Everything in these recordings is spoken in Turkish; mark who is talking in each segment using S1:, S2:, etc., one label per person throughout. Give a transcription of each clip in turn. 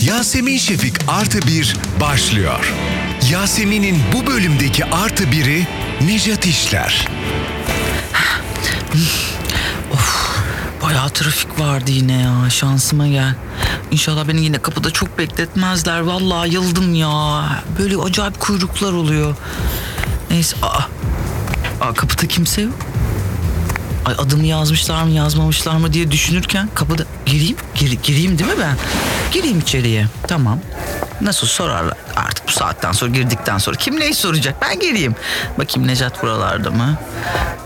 S1: Yasemin Şefik Artı Bir başlıyor. Yasemin'in bu bölümdeki artı biri Nejat İşler.
S2: Bayağı trafik vardı yine ya. Şansıma gel. İnşallah beni yine kapıda çok bekletmezler. Vallahi yıldım ya. Böyle acayip kuyruklar oluyor. Neyse. Aa, aa kapıda kimse yok. Ay adımı yazmışlar mı yazmamışlar mı diye düşünürken kapıda gireyim gir- gireyim değil mi ben? Gireyim içeriye. Tamam. Nasıl sorarlar artık bu saatten sonra girdikten sonra kim neyi soracak ben gireyim. Bakayım Necat buralarda mı?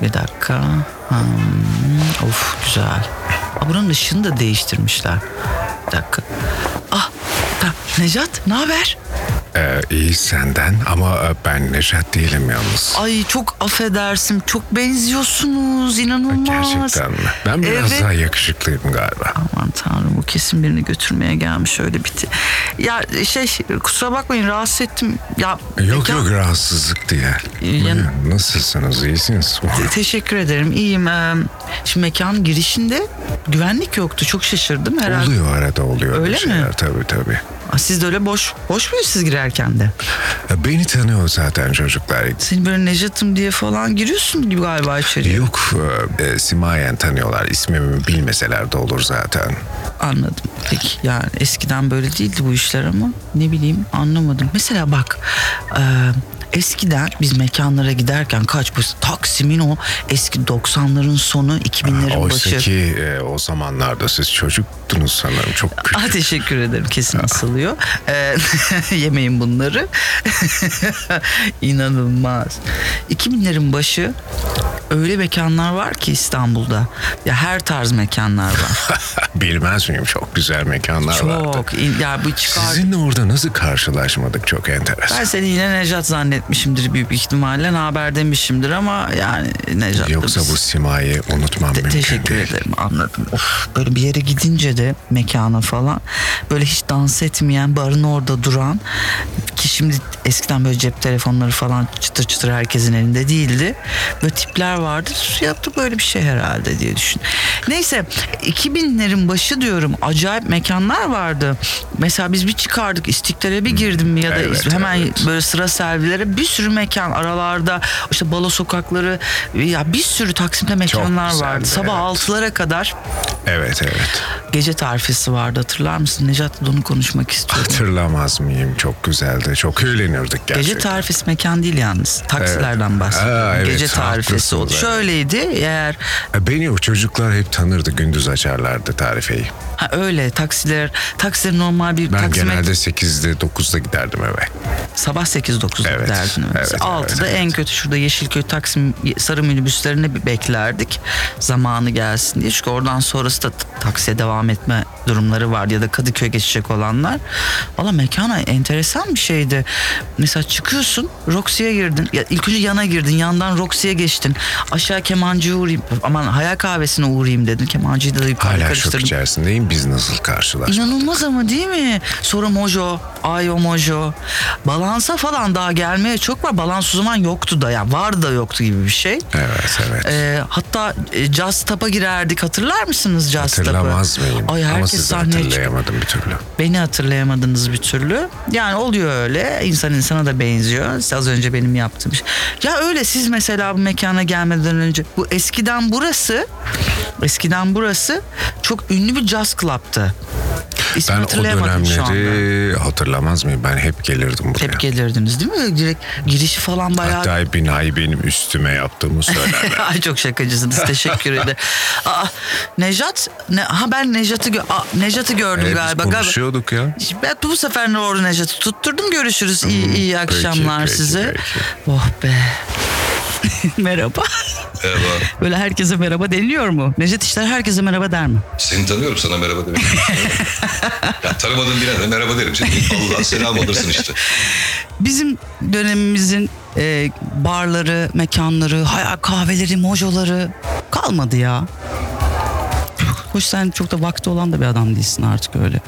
S2: Bir dakika. Hmm, of güzel. Aa, buranın ışığını da değiştirmişler. Bir dakika. Ah tamam. Necat ne haber?
S1: Ee, iyi senden ama e, ben Nejat değilim yalnız.
S2: Ay çok affedersin çok benziyorsunuz inanılmaz.
S1: Gerçekten mi? Ben biraz
S2: Evet.
S1: daha yakışıklıyım galiba.
S2: Aman tanrım bu kesin birini götürmeye gelmiş öyle biti. Ya şey kusura bakmayın rahatsız ettim. Ya
S1: Yok
S2: ya-
S1: yok rahatsızlık diye.
S2: Yani-
S1: Buyurun, Nasılsınız? İyisiniz?
S2: Te- Teşekkür ederim iyiyim. Ee, Şimdi mekanın girişinde güvenlik yoktu çok şaşırdım herhalde.
S1: Oluyor arada oluyor
S2: Öyle
S1: bir
S2: mi?
S1: şeyler tabii tabii.
S2: Aa, Siz de öyle boş boş muyuz siz girerken de?
S1: E, Beni tanıyor zaten çocuklar.
S2: Seni böyle Necat'ım diye falan giriyorsun gibi galiba içeriye.
S1: Yok e, e, Simayen tanıyorlar. İsmimi bilmeseler de olur zaten.
S2: Anladım. Peki yani eskiden böyle değildi bu işler ama ne bileyim anlamadım. Mesela bak e, eskiden biz mekanlara giderken kaç bu Taksim'in o eski 90'ların sonu 2000'lerin
S1: Oysa
S2: başı.
S1: ki e, o zamanlarda siz çocuktunuz sanırım. Çok küçük.
S2: Ah, teşekkür ederim kesin asılıyor. E, yemeyin bunları. İnanılmaz. 2000'lerin başı öyle mekanlar var ki İstanbul'da. Ya her tarz mekanlar var.
S1: Bilmez miyim çok güzel mekanlar vardı.
S2: Çok. in- Ya bu çıkar
S1: Sizinle orada nasıl karşılaşmadık çok enteresan.
S2: Ben seni yine Nejat zannetmişimdir büyük ihtimalle. Ne haber demişimdir ama yani Nejat da
S1: Yoksa
S2: biz-
S1: bu Simay'ı unutmam
S2: Te-
S1: mümkün
S2: teşekkür
S1: değil.
S2: ederim anladım. Of, böyle bir yere gidince de mekana falan böyle hiç dans etmeyen barın orada duran ki şimdi eskiden böyle cep telefonları falan çıtır çıtır herkesin elinde değildi. Böyle tipler vardır yaptı böyle bir şey herhalde diye düşün. Neyse 2000'lerin başı diyorum acayip mekanlar vardı. Mesela biz bir çıkardık İstiklal'e bir girdim ya da
S1: Evet,
S2: hemen
S1: evet.
S2: böyle sıra servilere bir sürü mekan aralarda işte balo sokakları ya bir sürü Taksim'de mekanlar
S1: güzeldi,
S2: vardı. Sabah
S1: evet.
S2: 6'lara kadar
S1: Evet evet.
S2: gece tarifesi vardı hatırlar mısın? Nejat'la da onu konuşmak istiyorum.
S1: Hatırlamaz mıyım? Çok güzeldi. Çok eğlenirdik gerçekten.
S2: Gece tarifesi mekan değil yalnız. Taksilerden
S1: Evet.
S2: bahsediyorum.
S1: Aa, evet,
S2: gece tarifesi oldu.
S1: haklısınız, evet.
S2: Şöyleydi eğer
S1: E, Beni o çocuklar hep tanırdı. Gündüz açarlardı tarifeyi.
S2: ha, öyle taksiler taksiler normal bir
S1: Ben
S2: taksimet
S1: genelde 8'de 9'da giderdim eve.
S2: sabah 8-9'da
S1: Evet,
S2: giderdin.
S1: evet,
S2: Mesela
S1: evet,
S2: 6'da
S1: evet.
S2: en kötü şurada Yeşilköy Taksim sarı minibüslerine bir beklerdik. Zamanı gelsin diye. Çünkü oradan sonrası da t- taksiye devam etme durumları var ya da Kadıköy geçecek olanlar. Valla mekana enteresan bir şeydi. Mesela çıkıyorsun Roxy'ye girdin. Ya ilk önce yana girdin. Yandan Roxy'ye geçtin. Aşağı kemancıya uğrayayım. Aman hayal kahvesine uğrayayım dedin. Kemancıyı da yukarı
S1: Hala şok
S2: karıştırdın.
S1: içerisindeyim. Biz nasıl karşılaştık?
S2: İnanılmaz ama değil mi? Sonra Mojo, Ayo Mojo. Balansa falan daha gelmeye çok var. Balans o zaman yoktu da ya. Var da yoktu gibi bir şey.
S1: Evet evet.
S2: Ee, hatta e, Just Tap'a girerdik. Hatırlar mısınız Just Tap'ı?
S1: Hatırlamaz mıyım?
S2: Ay
S1: Ama
S2: herkes
S1: sizi
S2: sahneye çıkıyor.
S1: hatırlayamadım bir türlü.
S2: Beni hatırlayamadınız bir türlü. Yani oluyor öyle. İnsan insana da benziyor. İşte az önce benim yaptığım şey. Ya öyle siz mesela bu mekana gelmeden önce bu eskiden burası eskiden burası çok ünlü bir jazz club'tı. İsmi
S1: Ben o
S2: hatırlayamadım şu anda.
S1: dönemleri hatırlamaz mıyım? Ben hep gelirdim buraya.
S2: Hep gelirdiniz değil mi? Direkt girişi falan bayağı...
S1: Hatta binayı benim üstüme yaptığımı söyler.
S2: Ay çok şakacısınız teşekkür ederim. Aa, Nejat, ne, ha ben Nejat'ı gö- Aa, Nejat'ı gördüm
S1: Ee,
S2: galiba.
S1: biz
S2: Galiba-
S1: konuşuyorduk ya.
S2: Ben bu sefer ne oldu Nejat'ı tutturdum görüşürüz. İyi, iyi
S1: Hmm, peki,
S2: akşamlar
S1: peki,
S2: size.
S1: peki.
S2: Oh be. merhaba.
S3: Merhaba.
S2: Böyle herkese merhaba deniliyor mu? Nejat işler herkese merhaba der mi?
S3: Seni tanıyorum sana merhaba demek. ya tanımadığım birine de merhaba derim. Şimdi Allah selam alırsın işte.
S2: Bizim dönemimizin e, barları, mekanları, hayal kahveleri, mojoları kalmadı ya. Hoş sen çok da vakti olan da bir adam değilsin artık öyle.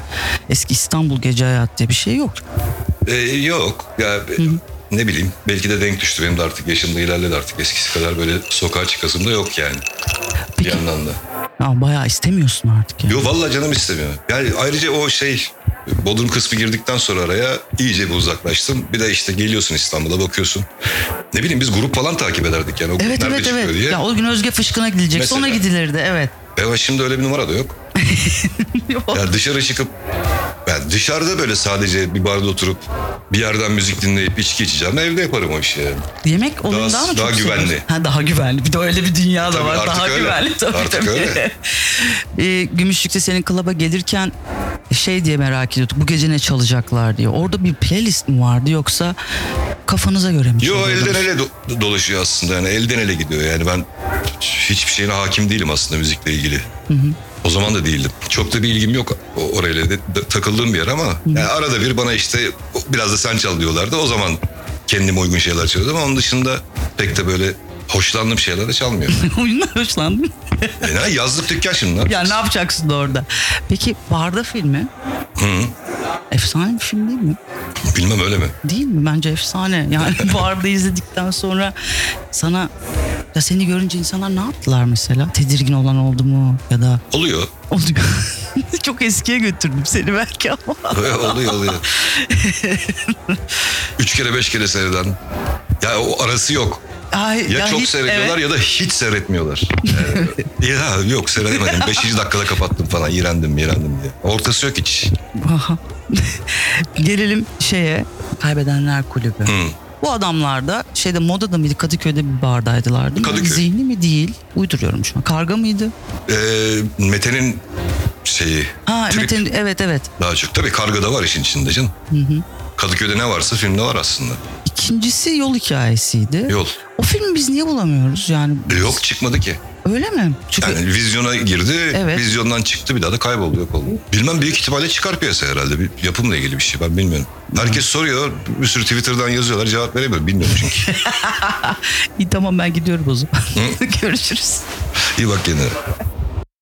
S2: Eski İstanbul gece hayat diye bir şey yok.
S3: Ee, yok ya ne bileyim belki de denk düştü benim de artık yaşım da ilerledi artık eskisi kadar böyle sokağa çıkasım da yok yani.
S2: Peki.
S3: Bir yandan da.
S2: Ya bayağı istemiyorsun artık ya.
S3: Yo vallahi canım istemiyor. Yani ayrıca o şey Bodrum kısmı girdikten sonra araya iyice bir uzaklaştım. Bir de işte geliyorsun İstanbul'a bakıyorsun. Ne bileyim biz grup falan takip ederdik yani. O grup
S2: Evet
S3: nerede
S2: evet
S3: çıkıyor
S2: evet.
S3: Diye.
S2: Ya o gün Özge Fışkın'a gidilecek.
S3: Mesela.
S2: Sonra gidilirdi evet.
S3: E Ama şimdi öyle bir numara da yok.
S2: Yok.
S3: Yani dışarı çıkıp yani dışarıda böyle sadece bir barda oturup bir yerden müzik dinleyip içki içeceğim. Evde yaparım o işi yani.
S2: Yemek olayını daha, mı
S3: daha
S2: çok
S3: güvenli.
S2: seviyorsun? Ha, daha güvenli. Bir de öyle bir dünya da
S3: Tabii,
S2: var.
S3: artık
S2: Daha
S3: öyle.
S2: güvenli tabii
S3: Artık
S2: tabii.
S3: öyle.
S2: Ee, Gümüşlük'te senin klaba gelirken şey diye merak ediyorduk. Bu gece ne çalacaklar diye. Orada bir playlist mi vardı yoksa kafanıza göre mi
S3: Yo
S2: çalıyordunuz?
S3: elden ele do- dolaşıyor aslında yani elden ele gidiyor yani ben hiçbir şeyine hakim değilim aslında müzikle ilgili. O zaman da değildim. Çok da bir ilgim yok o- orayla de, de- takıldığım bir yer ama yani arada bir bana işte biraz da sen çal diyorlardı. O zaman kendime uygun şeyler çalıyordum ama onun dışında pek de böyle hoşlandığım şeyler de çalmıyor.
S2: Oyundan hoşlandın.
S3: e, ne, yazlık dükkan şimdi. ne
S2: ya ne
S3: yapacaksın?
S2: yapacaksın orada? Peki Barda filmi? Efsane bir film değil mi?
S3: Bilmem öyle mi?
S2: Değil mi? Bence efsane. Yani barda izledikten sonra sana ya seni görünce insanlar ne yaptılar mesela? Tedirgin olan oldu mu ya da
S3: Oluyor.
S2: oluyor? Çok eskiye götürdüm seni belki ama.
S3: oluyor oluyor. Üç kere beş kere seyreden. Ya o arası yok.
S2: Ay,
S3: Ya, çok
S2: hiç-
S3: seyrediyorlar
S2: evet.
S3: ya da hiç seyretmiyorlar. Yani, ya yok seyredemedim. Beşinci dakikada kapattım falan. İğrendim iğrendim diye. Ortası yok hiç.
S2: Aha. Gelelim şeye. Kaybedenler Kulübü.
S3: Hmm.
S2: Bu adamlar da şeyde modada mıydı Kadıköy'de bir bardaydılar değil mi?
S3: Kadıköy.
S2: Zihni mi değil? Uyduruyorum şu an. Karga mıydı?
S3: Ee, Mete'nin şeyi.
S2: Ha
S3: trip
S2: Metin evet evet.
S3: Daha çok. Tabii karga da var işin içinde canım. Kadıköy'de ne varsa filmde var aslında.
S2: İkincisi yol hikayesiydi.
S3: Yol.
S2: O filmi biz niye bulamıyoruz yani?
S3: E, yok çıkmadı ki.
S2: Öyle mi? Çünkü
S3: Yani vizyona girdi.
S2: Evet.
S3: Vizyondan çıktı bir daha da kayboldu yok oldu. Bilmem büyük ihtimalle çıkar piyasaya herhalde. Bir yapımla ilgili bir şey ben bilmiyorum. Herkes soruyor. Bir sürü Twitter'dan yazıyorlar. Cevap veremiyorum. Bilmiyorum çünkü.
S2: İyi, tamam ben gidiyorum o zaman. Görüşürüz.
S3: İyi bak kendine.